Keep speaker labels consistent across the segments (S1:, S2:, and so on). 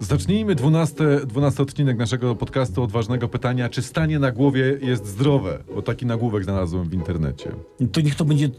S1: Zacznijmy 12, 12 odcinek naszego podcastu odważnego pytania, czy stanie na głowie jest zdrowe? Bo taki nagłówek znalazłem w internecie.
S2: To niech to będzie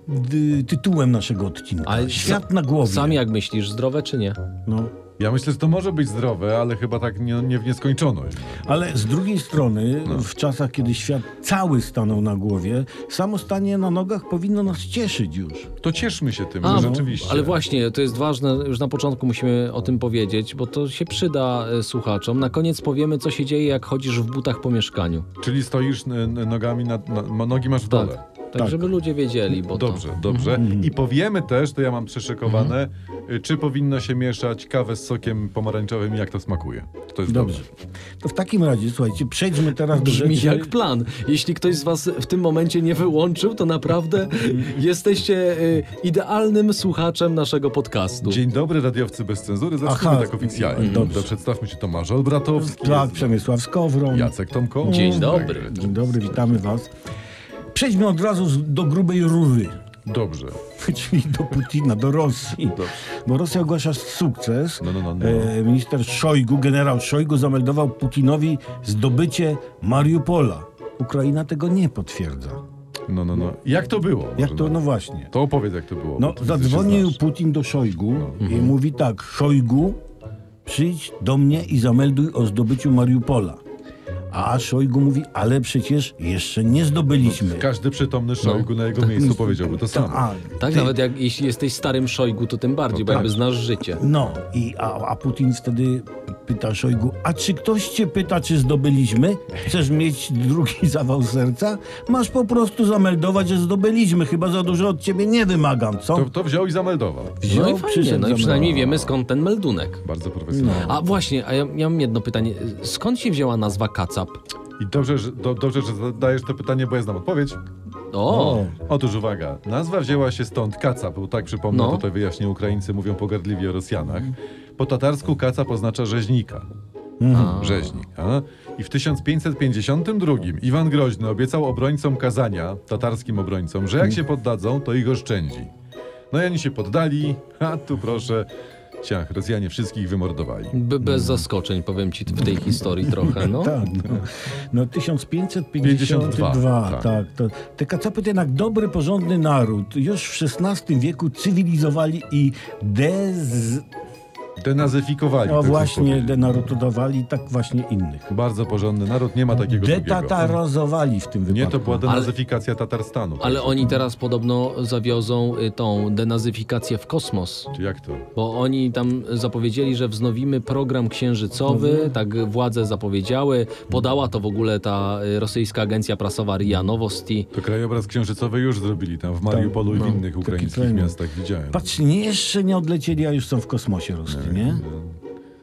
S2: y, tytułem naszego odcinka.
S3: Ale
S2: Świat
S3: sa-
S2: na głowie.
S3: Sam jak myślisz, zdrowe czy nie?
S2: no.
S1: Ja myślę, że to może być zdrowe, ale chyba tak nie, nie w nieskończoność.
S2: Ale z drugiej strony,
S3: No.
S2: w czasach, kiedy świat cały stanął na głowie, samo stanie na nogach powinno nas cieszyć już.
S1: To cieszmy się tym,
S3: A,
S1: że
S3: no,
S1: rzeczywiście.
S3: Ale właśnie, to jest ważne, już na początku musimy o tym powiedzieć, bo to się przyda e, słuchaczom. Na koniec powiemy, co się dzieje, jak chodzisz w butach po mieszkaniu.
S1: Czyli stoisz n- n- nogami, na, na, ma- nogi masz w
S3: Tak.
S1: dole.
S3: Tak,
S2: Tak.
S3: żeby ludzie wiedzieli, bo
S1: Dobrze,
S3: to... Mhm.
S1: dobrze. I powiemy też, to ja mam przyszykowane, y, czy powinno się mieszać kawę z sokiem pomarańczowym i jak to smakuje. Czy To jest
S2: Dobrze. To w takim razie, słuchajcie, przejdźmy teraz do
S3: Brzmi
S2: rzeczy.
S3: jak plan. Jeśli ktoś z was w tym momencie nie wyłączył, to naprawdę jesteście e, idealnym słuchaczem naszego podcastu.
S1: Dzień dobry, radiowcy bez cenzury. Zacznijmy
S2: Aha,
S1: tak oficjalnie.
S3: Mhm.
S2: dobrze.
S1: To Przedstawmy się Tomasz Olbratowski,
S2: Tak,
S1: jest
S2: Przemysław Skowron.
S1: Jacek Tomko. Tak.
S3: Dzień dobry.
S2: Dzień dobry, witamy was. Przejdźmy od razu z- do grubej rury,
S1: Dobrze.
S2: czyli do Putina, do Rosji. Bo Rosja ogłasza sukces.
S1: No, no, no, no.
S2: E, Minister Szojgu, generał Szojgu zameldował Putinowi zdobycie Mariupola. Ukraina tego nie potwierdza.
S1: No, no, no. Jak to było?
S2: Jak
S1: Może
S2: to,
S1: na-
S2: no właśnie.
S1: To opowiedz, jak to było.
S2: No,
S1: bo ty się
S2: zadzwonił
S1: znasz. No.
S2: Putin do Szojgu i mówi tak, Szojgu, przyjdź do mnie i zamelduj o zdobyciu Mariupola. A Szojgu mówi, ale przecież jeszcze nie zdobyliśmy.
S1: Każdy przytomny
S3: No.
S1: Szojgu na jego No, miejscu powiedziałby to samo.
S2: Tak, no, A,
S3: Tak, nawet jak, jeśli jesteś starym szojgu, to tym bardziej, bo
S1: tak.
S3: jakby znasz życie.
S2: No, i, a, a Putin wtedy pyta Szojgu, a czy ktoś cię pyta, czy zdobyliśmy? Chcesz mieć drugi zawał serca? Masz po prostu zameldować, że zdobyliśmy, chyba za dużo od ciebie nie wymagam, co?
S1: To, to wziął i zameldował.
S2: Wziął,
S3: no i fajnie,
S2: przyszedł,
S3: no i przynajmniej
S2: zameldował.
S3: wiemy skąd ten meldunek.
S1: Bardzo profesjonalnie.
S2: No.
S3: A właśnie, a ja, ja mam jedno pytanie. Skąd się wzięła nazwa kacap?
S1: I dobrze, że, do, dobrze, że zadajesz to pytanie, bo ja znam odpowiedź.
S3: O,
S2: O.
S1: Otóż uwaga, nazwa wzięła się stąd kacap, bo tak przypomnę,
S3: No.
S1: tutaj wyjaśnię, Ukraińcy mówią pogardliwie o Rosjanach. Po tatarsku kacap oznacza rzeźnika.
S2: Mhm.
S1: Rzeźnik. A? I w 1552 Iwan Groźny obiecał obrońcom Kazania, tatarskim obrońcom, że jak się poddadzą, to ich oszczędzi. No i oni się poddali, a tu proszę, ciach, Rosjanie wszystkich wymordowali.
S3: Be- bez zaskoczeń powiem ci w tej historii trochę, no.
S2: Mhm. Tak, no, no 1552,
S1: 52, tak.
S2: tak. to, te kacapy to jednak dobry, porządny naród. Już w XVI wieku cywilizowali i dez...
S1: Denazyfikowali.
S2: No
S1: tak
S2: właśnie,
S1: powiedzieć.
S2: denarodowali tak właśnie innych.
S1: Bardzo porządny naród, nie ma takiego drugiego.
S2: Detatarozowali w tym wypadku.
S1: Nie, to była denazyfikacja Tatarstanu.
S3: Ale
S1: Proszę.
S3: oni teraz podobno zawiozą y, tą denazyfikację w kosmos.
S1: Czy Jak to?
S3: Bo oni tam zapowiedzieli, że wznowimy program
S2: Mhm.
S3: księżycowy, tak władze zapowiedziały. Podała to w ogóle ta y, rosyjska agencja prasowa RIA Nowosti.
S1: To krajobraz księżycowy już zrobili tam w Mariupolu i w innych ukraińskich
S2: Tak, no, trening.
S1: miastach, widziałem.
S2: Patrz, nie, jeszcze nie odlecieli, a już są w kosmosie
S1: No,
S2: Rosji, nie?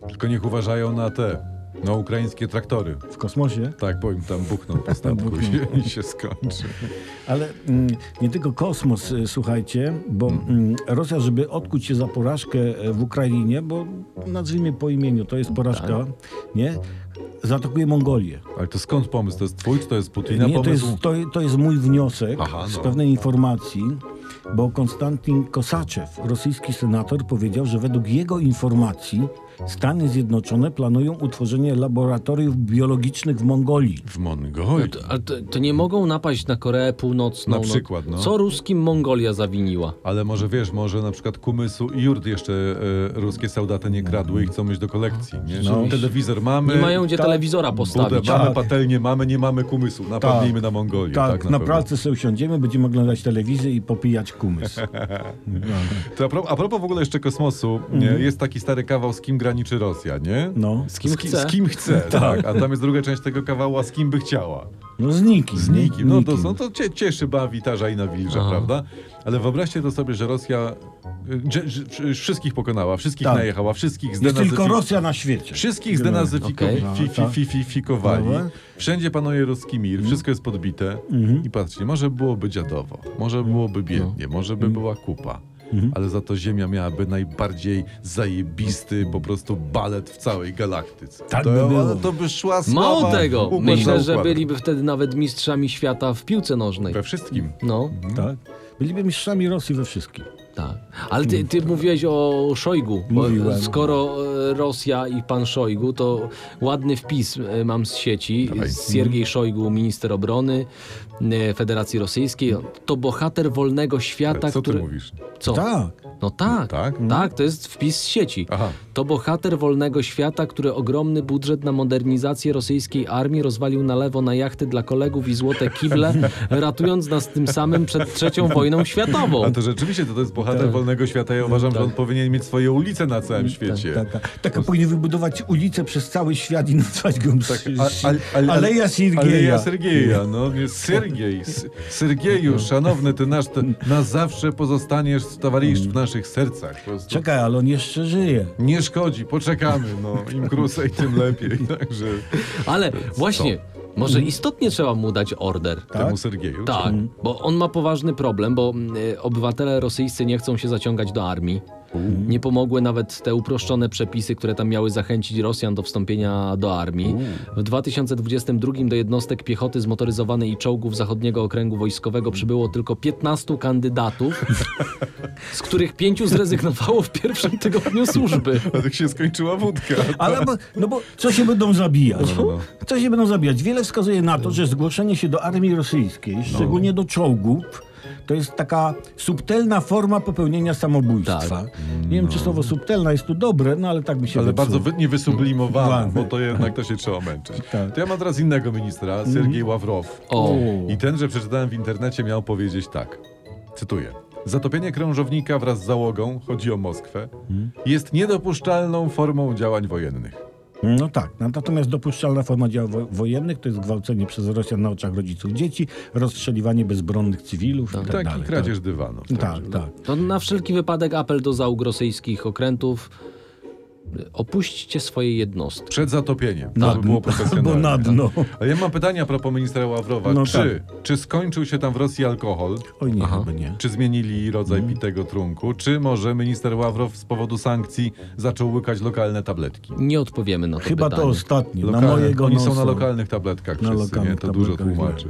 S1: Tylko niech uważają na te, na ukraińskie traktory.
S2: W kosmosie.
S1: Tak, bo im tam buchną po statku i się- i się skończy.
S2: Ale mm, nie tylko kosmos, e, słuchajcie, bo mm, Rosja, żeby odkuć się za porażkę e, w Ukrainie, bo nazwijmy po imieniu, to
S1: Tak.
S2: jest porażka, nie? Zaatakuje Mongolię.
S1: Ale to skąd pomysł? To jest twój, czy to jest Putina
S2: Nie, to jest,
S1: pomysł?
S2: to, to jest mój wniosek
S1: Aha, no.
S2: z pewnej informacji, bo Konstantin Kosaczew, rosyjski senator, powiedział, że według jego informacji Stany Zjednoczone planują utworzenie laboratoriów biologicznych w Mongolii.
S1: W Mongolii.
S2: No
S3: Ale to, to nie mogą napaść na Koreę Północną.
S1: Na przykład, no.
S3: Co ruskim Mongolia zawiniła?
S1: Ale może wiesz, może na przykład kumysu i jurt jeszcze e, ruskie soldaty nie kradły i chcą mieć do kolekcji. Nie? No. Telewizor mamy.
S3: Nie mają gdzie
S2: tak,
S3: telewizora
S1: Budę
S3: postawić.
S1: mamy,
S2: Tak.
S1: patelnię mamy, nie mamy kumysłu. Napadnijmy na Mongolię.
S2: Tak,
S1: Tak,
S2: na,
S1: pewno.
S2: pralce sobie usiądziemy, będziemy oglądać telewizję i popijać kumys.
S1: To a, propos, a propos w ogóle jeszcze kosmosu, nie, jest taki stary kawał, z kim graniczy Rosja, nie?
S2: Mhm. No,
S3: Z kim
S1: z, ki-
S3: chce?
S1: z kim chce, tak. A tam jest druga część tego kawała, z kim by chciała.
S2: no z nikim.
S1: Z nikim. No to, no to cie, cieszy, bawi, tarza i nawilża,
S3: Aha.
S1: prawda? Ale wyobraźcie to sobie, że Rosja y, dże- dż- dż- wszystkich pokonała, wszystkich
S2: Tak.
S1: najechała, wszystkich
S2: Jest tylko
S1: zdenazyfikowała.
S2: Rosja na świecie.
S1: Wszystkich
S3: Okej.
S1: zdenazyfikowali, fi, fi,
S2: Dobra.
S1: fi, fi, fikowali.
S2: Dobra. Mhm.
S1: wszędzie panuje ruski mir, wszystko jest podbite i patrzcie, może byłoby dziadowo, może
S2: Mhm.
S1: byłoby
S2: No.
S1: biednie, może by była kupa, ale za to Ziemia miałaby najbardziej zajebisty po prostu balet w całej galaktyce.
S2: Tak
S1: to,
S2: by było.
S1: ale to by szła sława.
S3: Mało tego,
S1: układ
S3: myślę,
S1: za
S3: że
S1: układem.
S3: byliby wtedy nawet mistrzami świata w piłce nożnej.
S1: We wszystkim.
S3: No,
S2: Tak? Byliby mistrzami Rosji we wszystkim.
S3: tak. Ale ty, ty mówiłeś o Szojgu, bo
S2: Mówiłem.
S3: skoro e, Rosja i pan Szojgu, to ładny wpis e, mam z sieci.
S1: Dawaj.
S3: Siergiej Szojgu, minister obrony e, Federacji Rosyjskiej. To bohater wolnego świata,
S1: Co
S3: Tak, który...
S1: ty mówisz?
S3: Co?
S2: Tak.
S3: No tak,
S1: Tak?
S3: tak, to jest wpis z sieci.
S1: Aha.
S3: To bohater wolnego świata, który ogromny budżet na modernizację rosyjskiej armii rozwalił na lewo na jachty dla kolegów i złote kible, ratując nas tym samym przed trzecią wojną światową.
S1: A to rzeczywiście to, to jest bohater
S3: Tak. tak,
S1: wolnego świata. Ja uważam, że on powinien mieć swoje ulice na całym świecie.
S2: Taka, taka powinien Tak, wybudować ulicę przez cały świat i nazwać go tak,
S1: A- al- al-
S2: Aleja
S1: Aleja
S2: Sirgieja.
S1: Sergieja, no nie, Sergiej. S-
S3: No.
S1: Sergieju, szanowny, ty nasz, ty na zawsze pozostaniesz towarzysz
S3: Mm.
S1: w naszych sercach. Po prostu.
S2: Czekaj, ale on jeszcze żyje.
S1: Nie szkodzi, poczekamy, no. Im krócej, tym lepiej. Także
S3: Ale właśnie, może istotnie trzeba mu dać order.
S1: temu Sergieju.
S3: Tak,
S2: Mhm.
S3: bo on ma poważny problem, bo y, obywatele rosyjscy nie chcą się zaciągać do armii.
S2: Mhm.
S3: Nie pomogły nawet te uproszczone przepisy, które tam miały zachęcić Rosjan do wstąpienia do armii.
S2: Mhm.
S3: W 2022 do jednostek piechoty zmotoryzowanej i czołgów Zachodniego Okręgu Wojskowego przybyło tylko 15 kandydatów, z których pięciu zrezygnowało w pierwszym tygodniu służby.
S1: A tak się skończyła wódka.
S2: Ale bo, no bo co się będą zabijać?
S1: No, no.
S2: Co się będą zabijać? Wiele wskazuje na to, że zgłoszenie się do armii
S1: No.
S2: rosyjskiej, szczególnie do czołgów, to jest taka subtelna forma popełnienia samobójstwa. Nie wiem, czy słowo subtelna jest tu dobre, no ale tak mi się
S1: Tak. No. Ale
S2: wypsuło.
S1: bardzo wy, nie wysublimowana,
S2: Ładne.
S1: bo to jednak to się trzeba męczyć.
S2: Tak.
S1: To ja mam teraz innego ministra, Sergiej Ławrow.
S3: O,
S1: I ten, że przeczytałem w internecie, miał powiedzieć tak. Cytuję. Zatopienie krążownika wraz z załogą, chodzi o Moskwę,
S2: Hmm?
S1: jest niedopuszczalną formą działań wojennych.
S2: No tak, no, natomiast dopuszczalna forma działań wo- wojennych to jest gwałcenie przez Rosjan na oczach rodziców dzieci, rozstrzeliwanie bezbronnych cywilów i tak,
S1: Tak,
S2: dalej.
S1: i kradzież dywanów.
S2: Tak, tak. tak.
S3: to na wszelki wypadek apel do załóg rosyjskich okrętów. Opuśćcie swoje jednostki.
S1: Przed zatopieniem.
S2: Na
S1: to by było
S2: dno. Albo
S1: profesjonalne.
S2: na dno.
S1: Ale ja mam pytanie a propos ministra Ławrowa.
S2: No
S1: czy, czy skończył się tam w Rosji alkohol?
S2: Oj nie, chyba nie.
S1: Czy zmienili rodzaj pitego trunku? Czy może minister Ławrow z powodu sankcji zaczął łykać lokalne tabletki?
S3: Nie odpowiemy na to
S2: Chyba
S3: pytanie.
S2: to ostatnie,
S1: Lokalne.
S2: na mojego
S1: Oni
S2: nosa.
S1: są na lokalnych tabletkach
S2: Na
S1: wszyscy, nie?
S2: lokalnych
S1: To dużo
S2: tabletkach, tak.
S1: tłumaczy.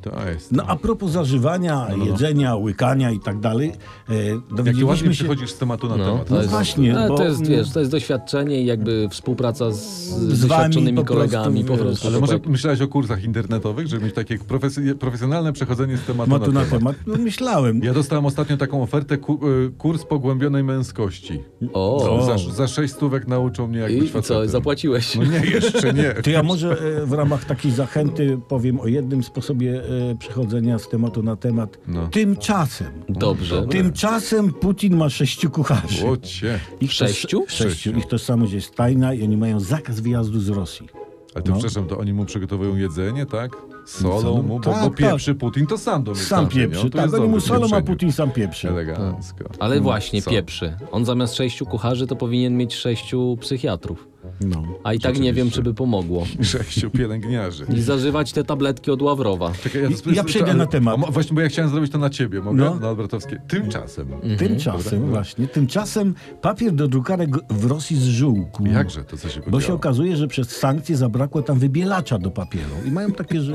S1: To, to jest.
S2: No a propos
S1: No,
S2: zażywania, jedzenia, łykania i tak dalej, e,
S1: Jakie ładnie
S2: dowiedzieliśmy się...
S1: przychodzisz z tematu na
S3: No,
S1: temat.
S2: No właśnie,
S3: ale
S2: bo-
S3: to, jest, wiesz, to jest doświadczenie i jakby współpraca z, z
S2: wami
S3: doświadczonymi
S2: po prostu,
S3: kolegami po
S2: wiesz,
S3: prostu.
S1: Ale może
S3: tak.
S1: myślałeś o kursach internetowych, żeby mieć takie profes- profesjonalne przechodzenie z tematu
S2: Ma
S1: na
S2: tu na
S1: temat.
S2: temat, no myślałem.
S1: Ja dostałem ostatnio taką ofertę, ku- y, kurs pogłębionej męskości.
S3: O,
S1: Za, za sześć stówek nauczą mnie jak
S3: i
S1: być
S3: i co,
S1: facetem.
S3: zapłaciłeś?
S1: No nie, jeszcze nie.
S2: To ja może e, w ramach takiej zachęty powiem o jednym sposobie e, przechodzenia z tematu na temat.
S1: No.
S2: Tymczasem,
S3: Dobrze.
S2: tymczasem Putin ma sześciu kucharzy.
S1: Łocie.
S2: Ich toż-
S3: Sześciu?
S2: Sześciu.
S1: Sześciu.
S2: Ich tożsamość jest tajna i oni mają zakaz wyjazdu z Rosji.
S1: Ale to przepraszam, to oni mu przygotowują jedzenie, tak? Solą
S2: No. Solą?
S1: mu, bo,
S2: Tak,
S1: bo
S2: tak.
S1: pieprzy Putin to sam do mnie
S2: Sam
S1: pieprzy, no,
S2: pieprzy,
S1: to
S2: tak,
S1: jest
S2: oni
S1: dobre
S2: mu solą, a
S1: pieprzenie. tak-
S2: Putin sam pieprzy.
S1: Elegancko.
S3: Tak. Ale właśnie,
S1: no, co?
S3: pieprzy. On zamiast sześciu kucharzy to powinien mieć sześciu psychiatrów.
S2: No.
S1: Mhm,
S3: A i tak nie wiem, czy by pomogło.
S1: Sześciu pielęgniarzy.
S3: I zażywać te tabletki od Ławrowa.
S1: Czekaj, ja,
S2: Ja
S1: spróbuję-
S2: przejdę
S1: ale-
S2: na temat.
S1: a mo- Właśnie, bo ja chciałem zrobić to na ciebie, mogę?
S2: No.
S1: Na Albertowskie. Tymczasem.
S2: Mhm. Tymczasem, właśnie, tymczasem papier do drukarek w Rosji zżółkł.
S1: Jakże to, co się
S2: Bo się
S1: podziało?
S2: okazuje, że przez sankcje zabrakło tam wybielacza do papieru. I mają takie, że...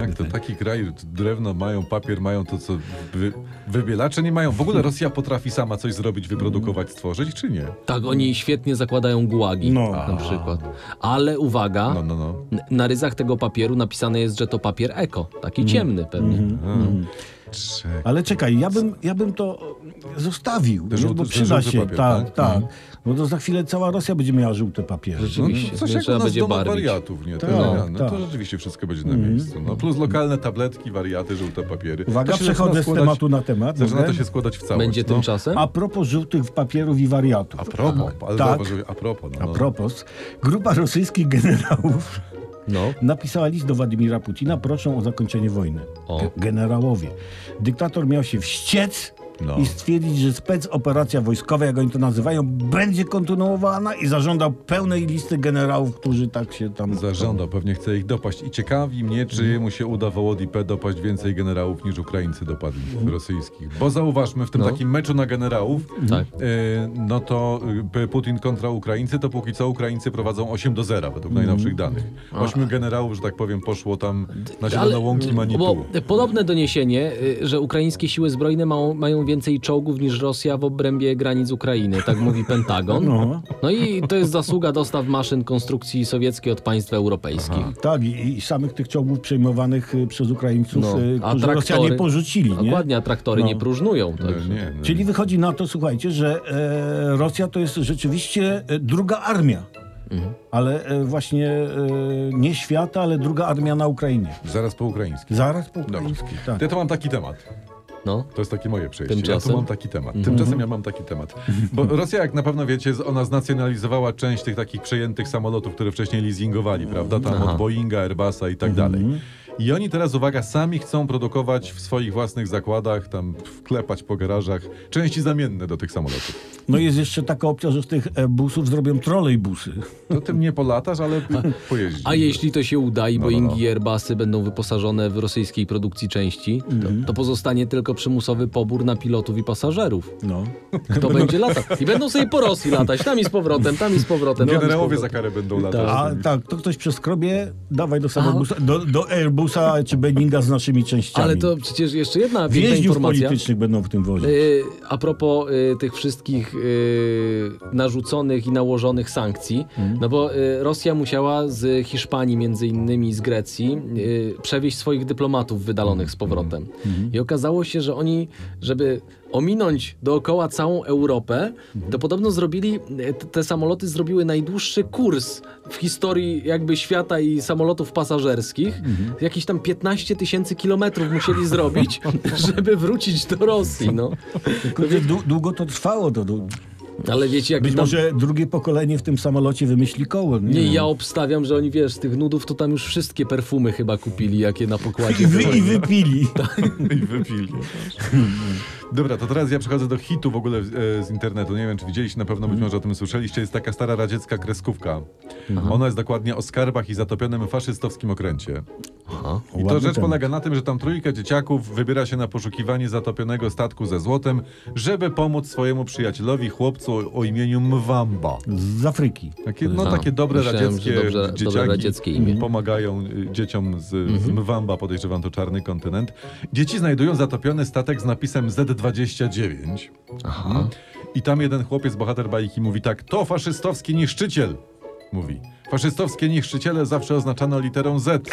S1: Jak to taki kraj, drewno mają, papier mają, to co wy, wybielacze nie mają. W ogóle Rosja potrafi sama coś zrobić, wyprodukować, stworzyć, czy nie?
S3: Tak, oni świetnie zakładają gułagi
S2: No.
S3: na przykład. Ale uwaga,
S1: No, no, no.
S3: n- na ryzach tego papieru napisane jest, że to papier eko. Taki
S2: Mhm.
S3: ciemny pewnie.
S1: Mhm. Czekaj.
S2: Ale czekaj, ja bym, ja bym to e, zostawił, nie?
S1: żółty-
S2: bo
S1: ten
S2: przyda
S1: żółty
S2: się.
S1: papier,
S2: tak,
S1: tak?
S2: tak, Bo to za chwilę cała Rosja będzie miała żółte papiery.
S1: No,
S3: Rzeczywiście,
S1: coś
S3: nie
S1: jak u
S3: trzeba
S1: nas
S3: będzie
S1: doma
S3: barwić.
S1: wariatów, nie? Te
S2: Tak,
S1: zmiany.
S2: tak. Mhm.
S1: To rzeczywiście wszystko będzie na miejscu. No, plus lokalne tabletki, wariaty, żółte papiery.
S2: Uwaga,
S1: To się zaczyna
S2: przechodzę z
S1: składać-
S2: tematu na temat.
S1: Zaczyna to
S2: mogę?
S1: się składać w całość.
S3: Będzie
S1: no.
S3: tymczasem?
S2: A propos żółtych papierów i wariatów.
S1: A propos, ale
S2: Tak.
S1: zauważ, że a propos. No,
S2: A
S1: no.
S2: propos, grupa rosyjskich generałów
S3: No.
S2: napisała list do Władimira Putina, proszą o zakończenie wojny.
S3: O.
S2: Ge- Generałowie. Dyktator miał się wściec
S1: No.
S2: i stwierdzić, że specoperacja wojskowa, jak oni to nazywają, będzie kontynuowana i zażądał pełnej listy generałów, którzy tak się tam...
S1: Zażądał, pewnie chce ich dopaść. I ciekawi mnie, czy mu się uda Wołodipę dopaść więcej generałów niż Ukraińcy dopadli rosyjskich. Bo zauważmy, w tym
S3: No.
S1: takim meczu na generałów,
S3: Tak.
S1: e, no to e, P- Putin kontra Ukraińcy, to póki co Ukraińcy prowadzą 8 do 0 według
S3: Mhm.
S1: najnowszych danych. Ośmiu generałów, że tak powiem, poszło tam na zielone łąki Manitu.
S3: Bo podobne doniesienie, y, że ukraińskie siły zbrojne mają, mają więcej czołgów niż Rosja w obrębie granic Ukrainy, tak mówi Pentagon.
S2: No.
S3: No i to jest zasługa dostaw maszyn konstrukcji sowieckiej od państw europejskich.
S2: Tak, i, i samych tych ciągów przejmowanych y, przez Ukraińców,
S3: No,
S2: y,
S3: a
S2: którzy
S3: traktory-
S2: Rosjanie porzucili. Nie?
S3: Dokładnie, a traktory
S2: No.
S3: nie próżnują. tak,
S1: No,
S3: Także.
S1: nie, no.
S2: Czyli wychodzi na to, słuchajcie, że e, Rosja to jest rzeczywiście e, druga armia. Ale e, właśnie e, nie świata, ale druga armia na Ukrainie.
S1: Zaraz po ukraińsku.
S2: Zaraz po
S1: Dobra.
S2: ukraińskiej, tak.
S1: Ja to mam taki temat.
S3: No.
S1: To jest takie moje przejście. Ja
S3: Tymczasem? Mhm.
S1: tu mam taki temat. Tymczasem ja mam taki temat. Bo Rosja, jak na pewno wiecie, z- ona znacjonalizowała część tych takich przejętych samolotów, które wcześniej leasingowali, prawda? Tam
S3: Aha. Mhm.
S1: od Boeinga, Airbusa i tak dalej. I oni teraz, uwaga, sami chcą produkować w swoich własnych zakładach, tam wklepać po garażach części zamienne do tych samolotów.
S2: No jest jeszcze taka opcja, że z tych e, busów zrobią trolejbusy.
S1: To tym nie polatasz, ale pojeździsz.
S3: A jeśli to się uda i
S1: No, no,
S3: Boeingi
S1: no.
S3: i Airbusy będą wyposażone w rosyjskiej produkcji części,
S1: Mhm.
S3: to, to pozostanie tylko przymusowy pobór na pilotów i pasażerów.
S2: No.
S3: Kto będzie latał? I będą sobie po Rosji latać, tam i z powrotem, tam i z powrotem. tam i z
S1: Generałowie za
S3: powrotem.
S1: karę będą latać.
S2: A
S1: z nimi.
S2: tak, to ktoś przeskrobie, dawaj do samolobusa, do, do Airbusa czy Boeinga z naszymi częściami.
S3: Ale to przecież jeszcze jedna piękna
S2: Więźniów
S3: informacja.
S2: politycznych będą w tym wozie.
S3: Yy, A propos yy, tych wszystkich yy, narzuconych i nałożonych sankcji,
S2: Mhm.
S3: no bo yy, Rosja musiała z Hiszpanii, między innymi z Grecji, yy, przewieźć swoich dyplomatów wydalonych z powrotem.
S2: Mhm.
S3: I okazało się, że oni, żeby ominąć dookoła całą Europę,
S2: Mhm.
S3: to podobno zrobili, yy, t- te samoloty zrobiły najdłuższy kurs w historii jakby świata i samolotów pasażerskich.
S2: Mhm.
S3: Jakieś tam 15 tysięcy kilometrów musieli zrobić, żeby wrócić do Rosji, no.
S2: Tylko że dłu- długo to trwało. To, to,
S3: Ale wiecie, jak
S2: być
S3: tam...
S2: może drugie pokolenie w tym samolocie wymyśli koło. Nie,
S3: Nie,
S2: wiem.
S3: ja obstawiam, że oni, wiesz, z tych nudów to tam już wszystkie perfumy chyba kupili, jakie na
S2: I,
S3: pokładzie
S2: wy,
S3: były.
S2: I wypili.
S1: I wypili. Dobra, to teraz ja przechodzę do hitu w ogóle e, z internetu. Nie wiem, czy widzieliście, na pewno być może o tym słyszeliście. Jest taka stara radziecka kreskówka. Ona jest dokładnie o skarbach i zatopionym faszystowskim okręcie.
S3: Aha.
S1: I to
S2: Ładny
S1: rzecz
S2: temat.
S1: polega na tym, że tam trójka dzieciaków wybiera się na poszukiwanie zatopionego statku ze złotem, żeby pomóc swojemu przyjacielowi, chłopcu o imieniu Mwamba.
S2: Z Afryki.
S1: Takie, no
S3: A,
S1: takie dobre
S3: myślałem,
S1: radzieckie
S3: że dobrze-
S1: dzieciaki
S3: dobre radzieckie imię. Mhm.
S1: pomagają y, dzieciom z, z Mwamba, podejrzewam to czarny kontynent. Dzieci znajdują zatopiony statek z napisem Z29
S3: Aha.
S1: i tam jeden chłopiec, bohater bajki, mówi tak, to faszystowski niszczyciel, mówi. Faszystowskie niszczyciele zawsze oznaczano literą Z.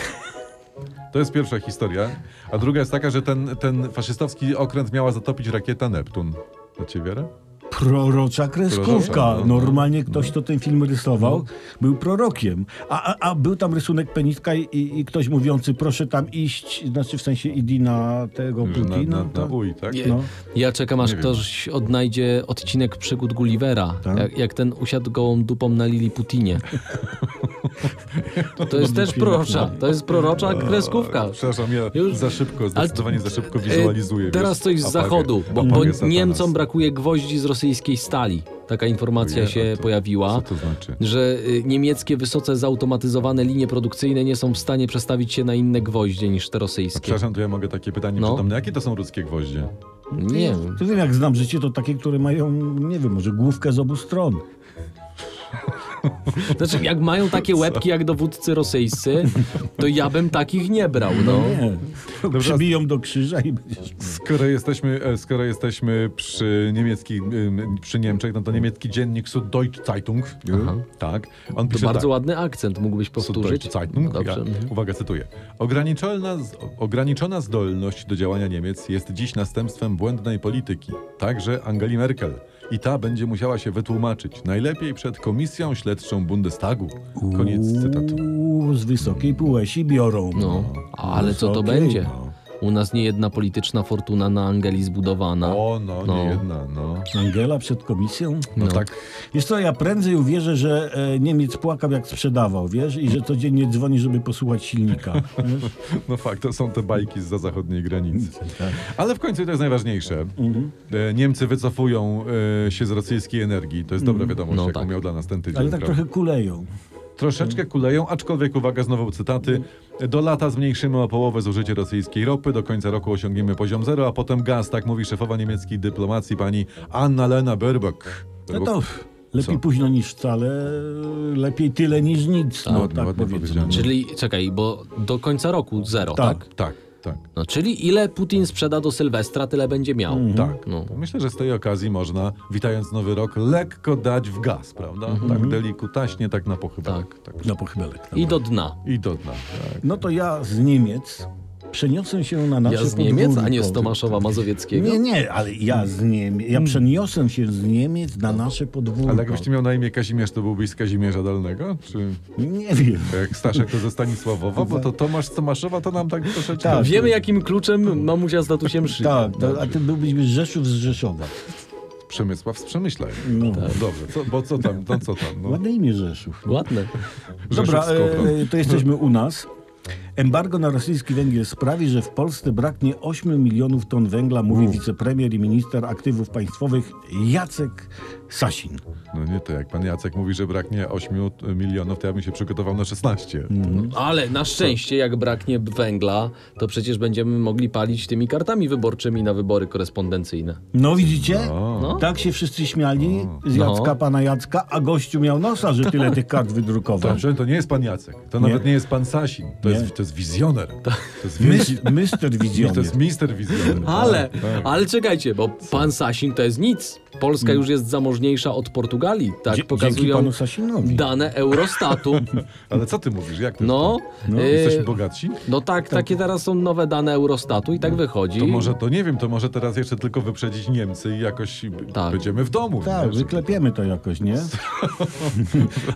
S1: To jest pierwsza historia. A druga jest taka, że ten, ten faszystowski okręt miała zatopić rakieta Neptun. Macie wiarę?
S2: Prorocza kreskówka.
S1: Prorocza, no,
S2: Normalnie ktoś, kto ten film rysował, był prorokiem. A, a, a był tam rysunek peniska i, i ktoś mówiący, proszę tam iść, znaczy w sensie idi na tego
S1: Że Na,
S2: Putina.
S1: na, na
S2: tak?
S1: UI, tak?
S3: Nie.
S2: No.
S3: Ja czekam, aż
S1: Nie wiem.
S3: ktoś odnajdzie odcinek przygód Gullivera,
S2: Tak?
S3: jak, jak ten usiadł gołą dupą na Liliputinie. To jest też prorocza, to jest prorocza kreskówka.
S1: no. E, Przepraszam, ja
S3: Już-
S1: za szybko, zdecydowanie za szybko
S3: E,
S1: wizualizuję. wiesz,
S3: Teraz coś z
S1: apagię-
S3: zachodu, bo, bo
S1: apagię satanas.
S3: Niemcom brakuje gwoździ z rosyjskiej stali. Taka informacja
S1: Ojej,
S3: się
S1: a to-
S3: pojawiła.
S1: Co to znaczy?
S3: że y, niemieckie wysoce zautomatyzowane linie produkcyjne nie są w stanie przestawić się na inne gwoździe niż te rosyjskie.
S1: Przepraszam, to ja mogę takie pytanie
S3: No.
S1: przytomne. Jakie to są ludzkie gwoździe?
S3: Nie wiem.
S2: Ty wiem, jak znam życie, to takie, które mają, nie wiem, może główkę z obu stron.
S3: Znaczy, jak mają takie łebki jak dowódcy rosyjscy, to ja bym takich nie brał, no.
S2: Nie.
S1: Dobra,
S2: Przybiją do krzyża i będziesz...
S1: Skoro jesteśmy, e, skoro jesteśmy przy niemieckich, ym, przy Niemczech, no to niemiecki dziennik Süddeutsche Zeitung, tak, on
S3: To
S1: pisze
S3: bardzo
S1: tak.
S3: ładny akcent, mógłbyś powtórzyć.
S1: Süddeutsche
S3: No
S1: Zeitung,
S3: Dobrze.
S1: ja, uwaga, cytuję. Ograniczona, z- ograniczona zdolność do działania Niemiec jest dziś następstwem błędnej polityki, także Angeli Merkel. I ta będzie musiała się wytłumaczyć, najlepiej przed komisją śledczą Bundestagu. Koniec cytatu.
S2: Uuu, Z wysokiej półesi biorą.
S3: No, ale co to
S2: Wysokiej,
S3: będzie?
S1: no.
S3: U nas nie jedna polityczna fortuna na Angeli zbudowana.
S1: O, no,
S3: No.
S1: nie jedna, no.
S2: Angela przed komisją?
S1: No,
S3: No.
S1: tak,
S2: Wiesz co, ja prędzej uwierzę, że e, Niemiec płakał jak sprzedawał, wiesz? I że codziennie dzwoni, żeby posłuchać silnika. wiesz?
S1: no fakt, to są te bajki z zachodniej granicy.
S3: Tak.
S1: Ale w końcu to jest najważniejsze.
S3: Mhm.
S1: E, Niemcy wycofują e, się z rosyjskiej energii. To jest dobra wiadomość,
S3: No
S1: jaką
S3: tak.
S1: miał dla nas ten tydzień.
S2: Ale tak
S1: prawda?
S2: trochę kuleją.
S1: Troszeczkę kuleją, aczkolwiek uwaga, znowu cytaty. Do lata zmniejszymy o połowę zużycie rosyjskiej ropy, do końca roku osiągniemy poziom zero, a potem gaz, tak mówi szefowa niemieckiej dyplomacji pani Anna-Lena Baerbock.
S2: No to lepiej
S1: Co?
S2: późno niż wcale, lepiej tyle niż nic. No,
S1: Ładnie,
S2: tak
S1: ładnie
S2: powiedzmy.
S1: powiedziane.
S3: Czyli, czekaj, bo do końca roku zero, tak?
S2: Tak.
S1: Tak. Tak.
S3: No, czyli ile Putin sprzeda do Sylwestra, tyle będzie miał.
S1: Tak.
S3: No.
S1: Myślę, że z tej okazji można, witając nowy rok, lekko dać w gaz, prawda? Tak delikutaśnie, tak na pochybelek. Tak.
S2: Na pochybelek.
S3: I do dna.
S1: I do dna. Tak.
S2: No to ja z Niemiec przeniosę się na nasze
S3: Ja z Niemiec, a nie z
S2: podwórko.
S3: Tomaszowa Mazowieckiego.
S2: Nie, nie, ale ja z Niemiec.
S3: Hmm.
S2: Ja przeniosę się z Niemiec na nasze podwórko.
S1: Ale jakbyście miał na imię Kazimierz, to byłbyś z Kazimierza Dolnego? Czy
S2: Nie wiem.
S1: jak Staszek to ze Stanisławowa? Bo to Tomasz z Tomaszowa to nam tak troszeczkę...
S2: Tak.
S3: Wiemy jakim kluczem mamusia z datusiem szyje.
S2: Tak,
S1: no.
S2: to, a ty byłbyś z Rzeszów z Rzeszowa.
S1: Przemysław z Przemyśla.
S2: No.
S1: Dobrze, co, bo co tam, no co tam? No.
S2: Ładne imię Rzeszów.
S3: Ładne.
S2: Dobra,
S1: Rzeszów z Kowrą.
S2: e, to jesteśmy u nas. Embargo na rosyjski węgiel sprawi, że w Polsce braknie 8 milionów ton węgla, mówi wicepremier i minister aktywów państwowych Jacek Sasin.
S1: No nie, to jak pan Jacek mówi, że braknie 8 milionów, to ja bym się przygotował na 16.
S2: No.
S3: Ale na szczęście, jak braknie węgla, to przecież będziemy mogli palić tymi kartami wyborczymi na wybory korespondencyjne.
S2: No widzicie?
S1: No.
S2: Tak się wszyscy śmiali z Jacka,
S3: No.
S2: pana Jacka, a gościu miał nosa, że tyle tych kart wydrukował.
S1: Dobrze, to nie jest pan Jacek. To
S2: Tak. Nie.
S1: nawet nie jest pan Sasin. To,
S2: Nie.
S1: jest, to jest wizjoner. To jest wielki...
S2: Mys- Mister
S1: To
S2: Wizjoner.
S1: jest mister wizjoner.
S3: Ale,
S1: Tak, tak.
S3: ale czekajcie, bo pan Sasin to jest nic. Polska już jest zamożniejsza od Portugalii. Tak
S2: Dzie- dzięki
S3: pokazują
S2: panu Sasinowi.
S3: dane Eurostatu.
S1: tak. Ale co ty mówisz? Jak to
S3: No,
S1: jest?
S3: e,
S1: Jesteśmy bogatsi?
S3: no tak, takie teraz są nowe dane Eurostatu i tak wychodzi.
S1: To może, to nie wiem, to może teraz jeszcze tylko wyprzedzić Niemcy i jakoś b-
S3: Tak.
S1: będziemy w domu.
S2: Tak,
S1: nie?
S2: wyklepiemy to jakoś, nie?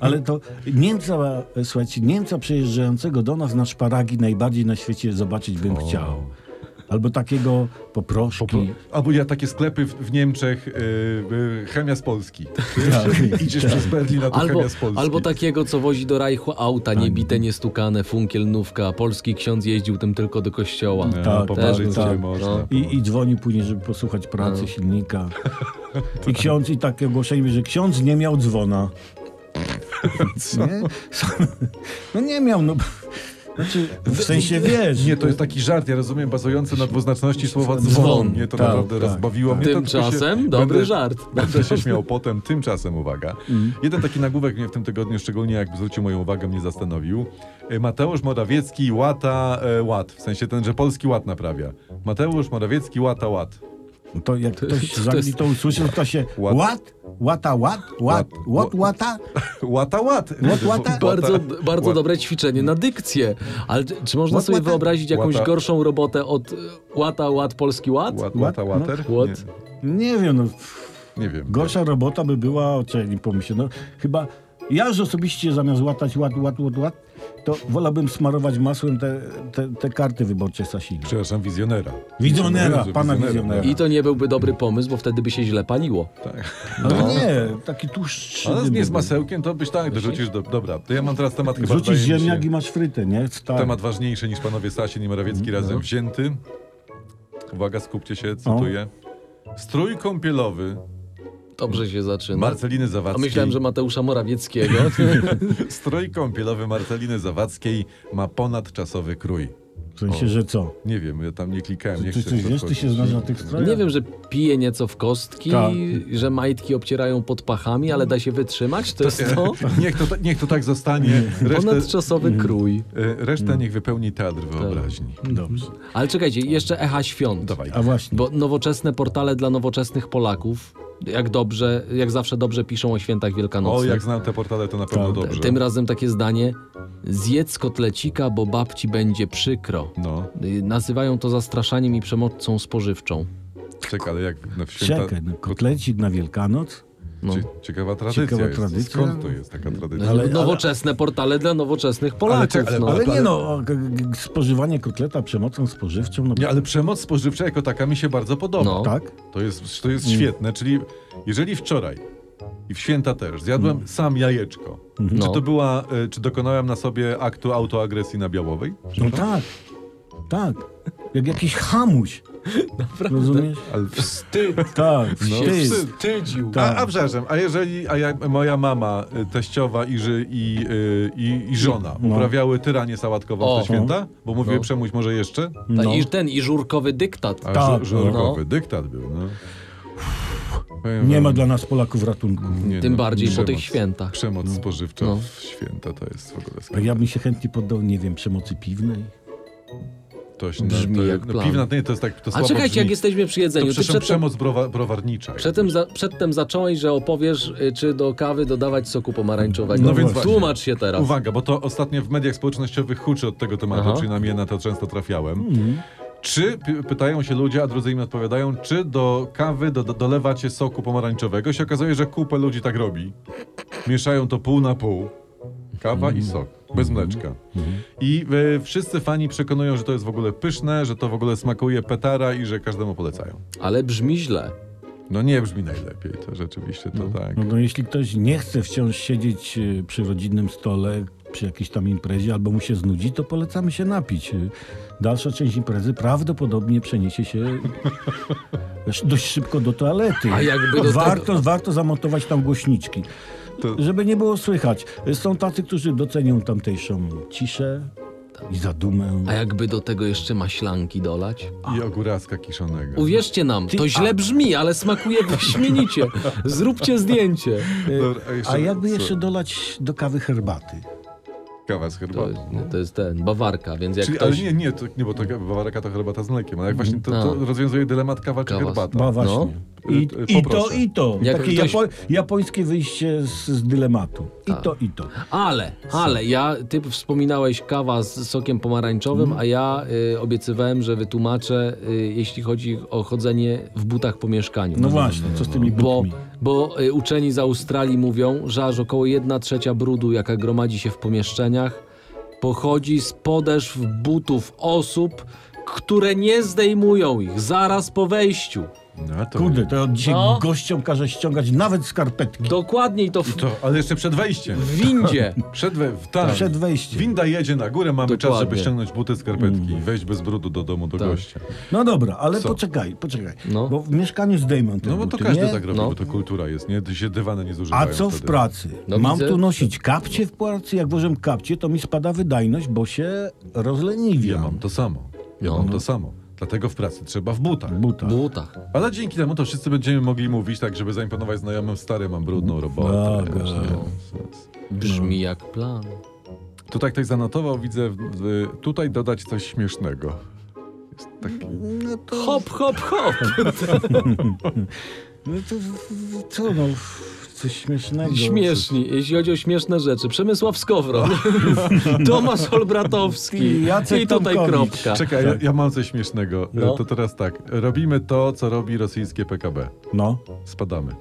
S2: Ale to Niemca, słuchajcie, Niemca przyjeżdżającego do nas na szparagi najbardziej na świecie zobaczyć bym chciał. Albo takiego poproszki.
S1: Albo ja takie sklepy w, w Niemczech, yy, yy, chemia z Polski.
S2: Tak.
S1: Idziesz przez Berlin na to
S3: Albo,
S1: chemia z Polski.
S3: albo tak- takiego, co wozi do rajchu auta, niebite, niestukane, funkiel, nówka. Polski ksiądz jeździł tym tylko do kościoła.
S1: No,
S2: tak,
S1: popatrzeć,
S2: tak,
S1: gdzie
S2: tak.
S3: No.
S1: można.
S2: I, I dzwoni później, żeby posłuchać pracy
S1: No.
S2: silnika.
S1: Tak.
S2: I ksiądz, i takie ogłoszenie, że ksiądz nie miał dzwona. Nie? No nie miał, no. Znaczy, w sensie wiesz.
S1: Nie, to jest taki żart, ja rozumiem, bazujący na dwuznaczności słowa dzwon.
S3: Dzwon.
S1: Mnie to
S2: Tak,
S1: naprawdę
S2: tak,
S1: rozbawiło. Mnie to tylko
S3: Tymczasem
S1: się-
S3: dobry
S1: będę-
S3: żart.
S1: Będę się śmiał potem, tymczasem uwaga.
S2: Mm.
S1: Jeden taki nagłówek mnie w tym tygodniu szczególnie jak zwrócił moją uwagę, mnie zastanowił. E, Mateusz Morawiecki łata e, ład, w sensie ten, że polski ład naprawia. Mateusz Morawiecki łata ład.
S2: No To jak ktoś
S3: to
S2: z Anglii
S3: jest-
S2: to usłyszał, to się
S1: Łat.
S2: łat, łata, łat, łat, łat, łata.
S1: Łata ład.
S2: Łat, łata?
S3: Bardzo, bardzo
S1: Łat-
S3: dobre ćwiczenie na dykcję. Ale czy- czy można
S2: Łat,
S3: sobie
S2: łata?
S3: wyobrazić jakąś
S1: Łata.
S3: gorszą robotę od y, łata, łat, polski ład?
S1: Łat, łata
S2: Łat,
S1: łater?
S3: no.
S1: Nie,
S3: Łat.
S2: Nie wiem, no,
S1: nie wiem.
S2: gorsza robota by była, czy nie pomyślę, no chyba ja już osobiście zamiast łatać łat, łat, łat, łat, to wolałbym smarować masłem te, te, te karty wyborcze Sasina.
S1: Przepraszam, wizjonera.
S2: Wizjonera, pana wizjonera.
S3: I to nie byłby dobry pomysł, bo wtedy by się źle paliło.
S1: Tak.
S2: Ale No nie, taki tłuszcz.
S1: Ale nie z masełkiem, to byś tak dorzucisz. Do, dobra, to ja mam teraz temat chyba
S2: Wrzucisz
S1: wydaje mi się-
S2: ziemniak i masz frytę, nie? Tak.
S1: Temat ważniejszy niż panowie Sasin i Morawiecki razem wzięty. Uwaga, skupcie się, cytuję. Strój kąpielowy
S3: Dobrze się zaczyna.
S1: Marceliny
S3: No. A
S1: Zawadzkiej.
S3: myślałem, że Mateusza Morawieckiego.
S1: Strój kąpielowy Marceliny Zawadzkiej ma ponadczasowy krój.
S2: W sensie, że co?
S1: Nie wiem, ja tam nie klikałem, nie
S2: Ty
S1: chcę
S2: coś
S1: w to
S2: wiesz, ty
S1: wchodzić.
S2: się znasz na tych strojach?
S3: Nie wiem, że pije nieco w kostki,
S2: Tak.
S3: że majtki obcierają pod pachami, ale da się wytrzymać. To jest to
S1: Niech to, niech to tak zostanie. Resztę,
S3: ponadczasowy krój.
S1: e, resztę niech wypełni teatr wyobraźni.
S2: Dobrze.
S3: Ale czekajcie, jeszcze echa świąt.
S1: Dawaj.
S2: A właśnie.
S3: Bo nowoczesne portale dla nowoczesnych Polaków, jak dobrze, jak zawsze dobrze piszą o świętach
S1: O,
S3: wielkanocnych.
S1: jak znam te portale, to na pewno
S2: Tak.
S1: dobrze.
S3: Tym razem takie zdanie: zjedz kotlecika, bo babci będzie przykro.
S1: No,
S3: Y, Nazywają to zastraszaniem i przemocą spożywczą.
S1: czekaj, ale jak na święta...
S2: Czekaj, no, kotlecik na Wielkanoc?
S3: No.
S1: Cie- Ciekawa tradycja
S2: Ciekawa
S1: jest.
S2: tradycja.
S1: Skąd to jest taka tradycja?
S2: Ale-
S3: Nowoczesne portale dla nowoczesnych
S1: Ale
S3: Polaków.
S1: czek- ale-
S3: no.
S2: Ale
S1: Ale-
S2: nie no, g- g- g- spożywanie kotleta przemocą spożywczą, no
S1: Nie, ale przemoc spożywcza jako taka mi się bardzo podoba.
S3: No.
S2: tak?
S1: To, jest, to jest świetne, czyli jeżeli wczoraj i w święta też zjadłem sam jajeczko,
S3: No.
S1: czy to była, e, czy dokonałem na sobie aktu autoagresji na Białowej?
S2: No tak, tak. Jak jakiś hamuś. Rozumiesz?
S1: Ale wstyd!
S2: Tak, wstyd.
S1: No wstyd.
S3: Wstydził.
S2: Tak.
S1: A, a przepraszam, a jeżeli a ja, moja mama, e, teściowa i, ży, i, y, i, i żona
S2: No.
S1: uprawiały tyranię sałatkową w
S3: O.
S1: te święta? Bo mówiły
S3: No.
S1: przemuś może jeszcze?
S2: No.
S3: I ten, i żurkowy dyktat.
S1: A
S2: Tak.
S1: tak, żurkowy
S3: No.
S1: dyktat był, no. Powiem
S2: Nie
S1: wam,
S2: ma dla nas Polaków ratunku.
S1: nie,
S3: Tym
S1: no,
S3: bardziej po
S1: przemoc.
S3: tych świętach.
S1: Przemoc spożywcza
S3: No.
S1: w święta to jest w ogóle
S2: Tak, A ja bym się chętnie poddał, nie wiem, przemocy piwnej.
S1: To się- no,
S3: Brzmi
S1: to,
S3: jak
S1: no,
S3: plan.
S1: Piwna, nie, to jest tak, to
S3: A
S1: słabo
S3: czekajcie,
S1: brzmi.
S3: jak jesteśmy przy
S1: To
S3: jedzeniu. Ty
S1: przecież
S3: przedtem,
S1: przemoc browa, browarnicza.
S3: przedtem, za, przedtem zacząłeś, że opowiesz, y, czy do kawy dodawać soku pomarańczowego.
S1: No więc
S3: Tłumacz się teraz.
S1: Uwaga, bo to ostatnio w mediach społecznościowych huczy od tego tematu,
S3: Aha.
S1: przynajmniej ja na to często trafiałem.
S2: Mhm.
S1: Czy, p- pytają się ludzie, a drudzy im odpowiadają, czy do kawy do, do, dolewacie soku pomarańczowego? Się okazuje, że kupę ludzi tak robi. Mieszają to pół na pół. Kawa
S2: Mhm.
S1: i sok. Bez mleczka. I e, wszyscy fani przekonują, że to jest w ogóle pyszne, że to w ogóle smakuje petara i że każdemu polecają.
S3: Ale brzmi źle.
S1: No nie brzmi najlepiej, to rzeczywiście to tak.
S2: No, no jeśli ktoś nie chce wciąż siedzieć y, przy rodzinnym stole, przy jakiejś tam imprezie, albo mu się znudzi, to polecamy się napić. Y, Dalsza część imprezy prawdopodobnie przeniesie się sz- dość szybko do toalety.
S3: A jakby do
S2: warto,
S3: tego-
S2: warto zamontować tam głośniczki.
S1: To-
S2: Żeby nie było słychać. Y, Są tacy, którzy docenią tamtejszą ciszę i zadumę.
S3: A jakby do tego jeszcze maślanki dolać?
S2: No.
S1: I ogóracka kiszonego.
S3: Uwierzcie nam, to źle brzmi, ale smakuje wyśmienicie. Zróbcie zdjęcie.
S2: Y,
S1: Dobra, No, a jeszcze-
S2: A jakby
S1: co?
S2: jeszcze dolać do kawy herbaty?
S1: Kawa z
S3: To,
S1: herbatą.
S3: to jest ten, bawarka, więc jak
S1: Czyli,
S3: ktoś... Mm.
S1: ale nie, nie, to, nie, bo to bawarka to herbata z mlekiem, ale jak właśnie to, to
S3: A.
S1: rozwiązuje dylemat kawa czy
S3: Kawa z-
S1: herbata.
S2: Ba, właśnie. No. I,
S1: No Y, y,
S2: I to,
S1: poproszę.
S2: i to.
S3: No. Jak
S2: Takie
S3: ktoś- Tak.
S2: japo japońskie wyjście z, z dylematu. I to, i to. No
S3: Ale, ale, ja, ty wspominałeś kawa z sokiem pomarańczowym, a ja y, obiecywałem, że wytłumaczę, y, jeśli chodzi o chodzenie w butach po mieszkaniu.
S2: No właśnie, co z tymi
S3: Bo,
S2: butami?
S3: bo y, uczeni z Australii mówią, że aż około 1 trzecia brudu, jaka gromadzi się w pomieszczeniach, pochodzi z podeszw butów osób, które nie zdejmują ich zaraz po wejściu.
S1: No, to,
S2: Kurde, to ja od dzisiaj
S3: No.
S2: gościom każę ściągać nawet skarpetki.
S3: Dokładniej to w,
S1: to, ale jeszcze przed wejściem.
S3: w windzie.
S1: Przed, we, w, tak.
S2: Przed wejściem.
S1: Winda jedzie na górę, mamy czas, żeby
S3: Dokładnie. Mhm.
S1: ściągnąć buty, skarpetki i wejść bez brudu do domu, do
S3: Tak.
S1: gościa.
S2: No dobra, ale
S1: Co?
S2: poczekaj, poczekaj.
S3: No.
S2: Bo w mieszkaniu zdejmę te
S1: No bo to
S2: buty,
S1: każdy
S2: nie?
S1: tak robi,
S3: No.
S1: bo to kultura jest, nie? Ty się dywany nie zużywają
S2: A co w
S1: wtedy.
S2: pracy?
S3: No
S2: Mam
S3: widzę.
S2: tu nosić kapcie w pracy? Jak włożę kapcie, to mi spada wydajność, bo się
S1: Ja
S2: rozleniwiam.
S1: mam to samo. Ja
S3: No.
S1: mam to samo. Dlatego w pracy trzeba w butach.
S2: W butach.
S3: W butach.
S1: Ale dzięki temu to wszyscy będziemy mogli mówić tak, żeby zaimponować znajomym, stary, mam
S2: No,
S1: brudną robotę.
S2: Dobra.
S1: wiesz, no, nie? Sens.
S3: Brzmi jak plan.
S1: Tu tak ktoś zanotował, widzę, w- w- tutaj dodać coś śmiesznego. Jest taki...
S2: No to,
S3: Hop, hop, hop.
S2: no to w- co no, w- coś śmiesznego.
S3: Śmieszni, jeśli chodzi o śmieszne rzeczy. Przemysław Skowron, Tomasz Olbratowski
S2: I Jacek
S3: i tutaj
S2: Tomkowicz.
S3: kropka.
S1: Czekaj, ja, ja mam coś śmiesznego.
S3: No.
S1: E, To teraz tak. Robimy to, co robi rosyjskie PKB.
S2: No,
S1: Spadamy.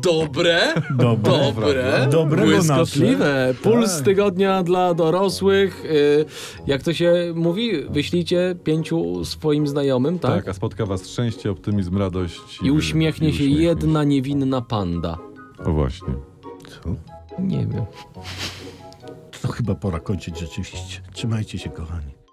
S3: Dobre,
S2: dobra.
S3: dobre,
S2: Dobrego
S3: błyskotliwe. Puls
S2: Tak.
S3: tygodnia dla dorosłych. Y, Jak to się mówi, wyślijcie pięciu swoim znajomym,
S1: Tak?
S3: tak?
S1: a spotka was szczęście, optymizm, radość.
S3: I uśmiechnie
S1: i
S3: się
S1: uśmiechnie
S3: jedna niewinna panda.
S1: się. O właśnie.
S2: Co?
S3: Nie wiem.
S2: To chyba pora kończyć rzeczywiście. Trzymajcie się, kochani.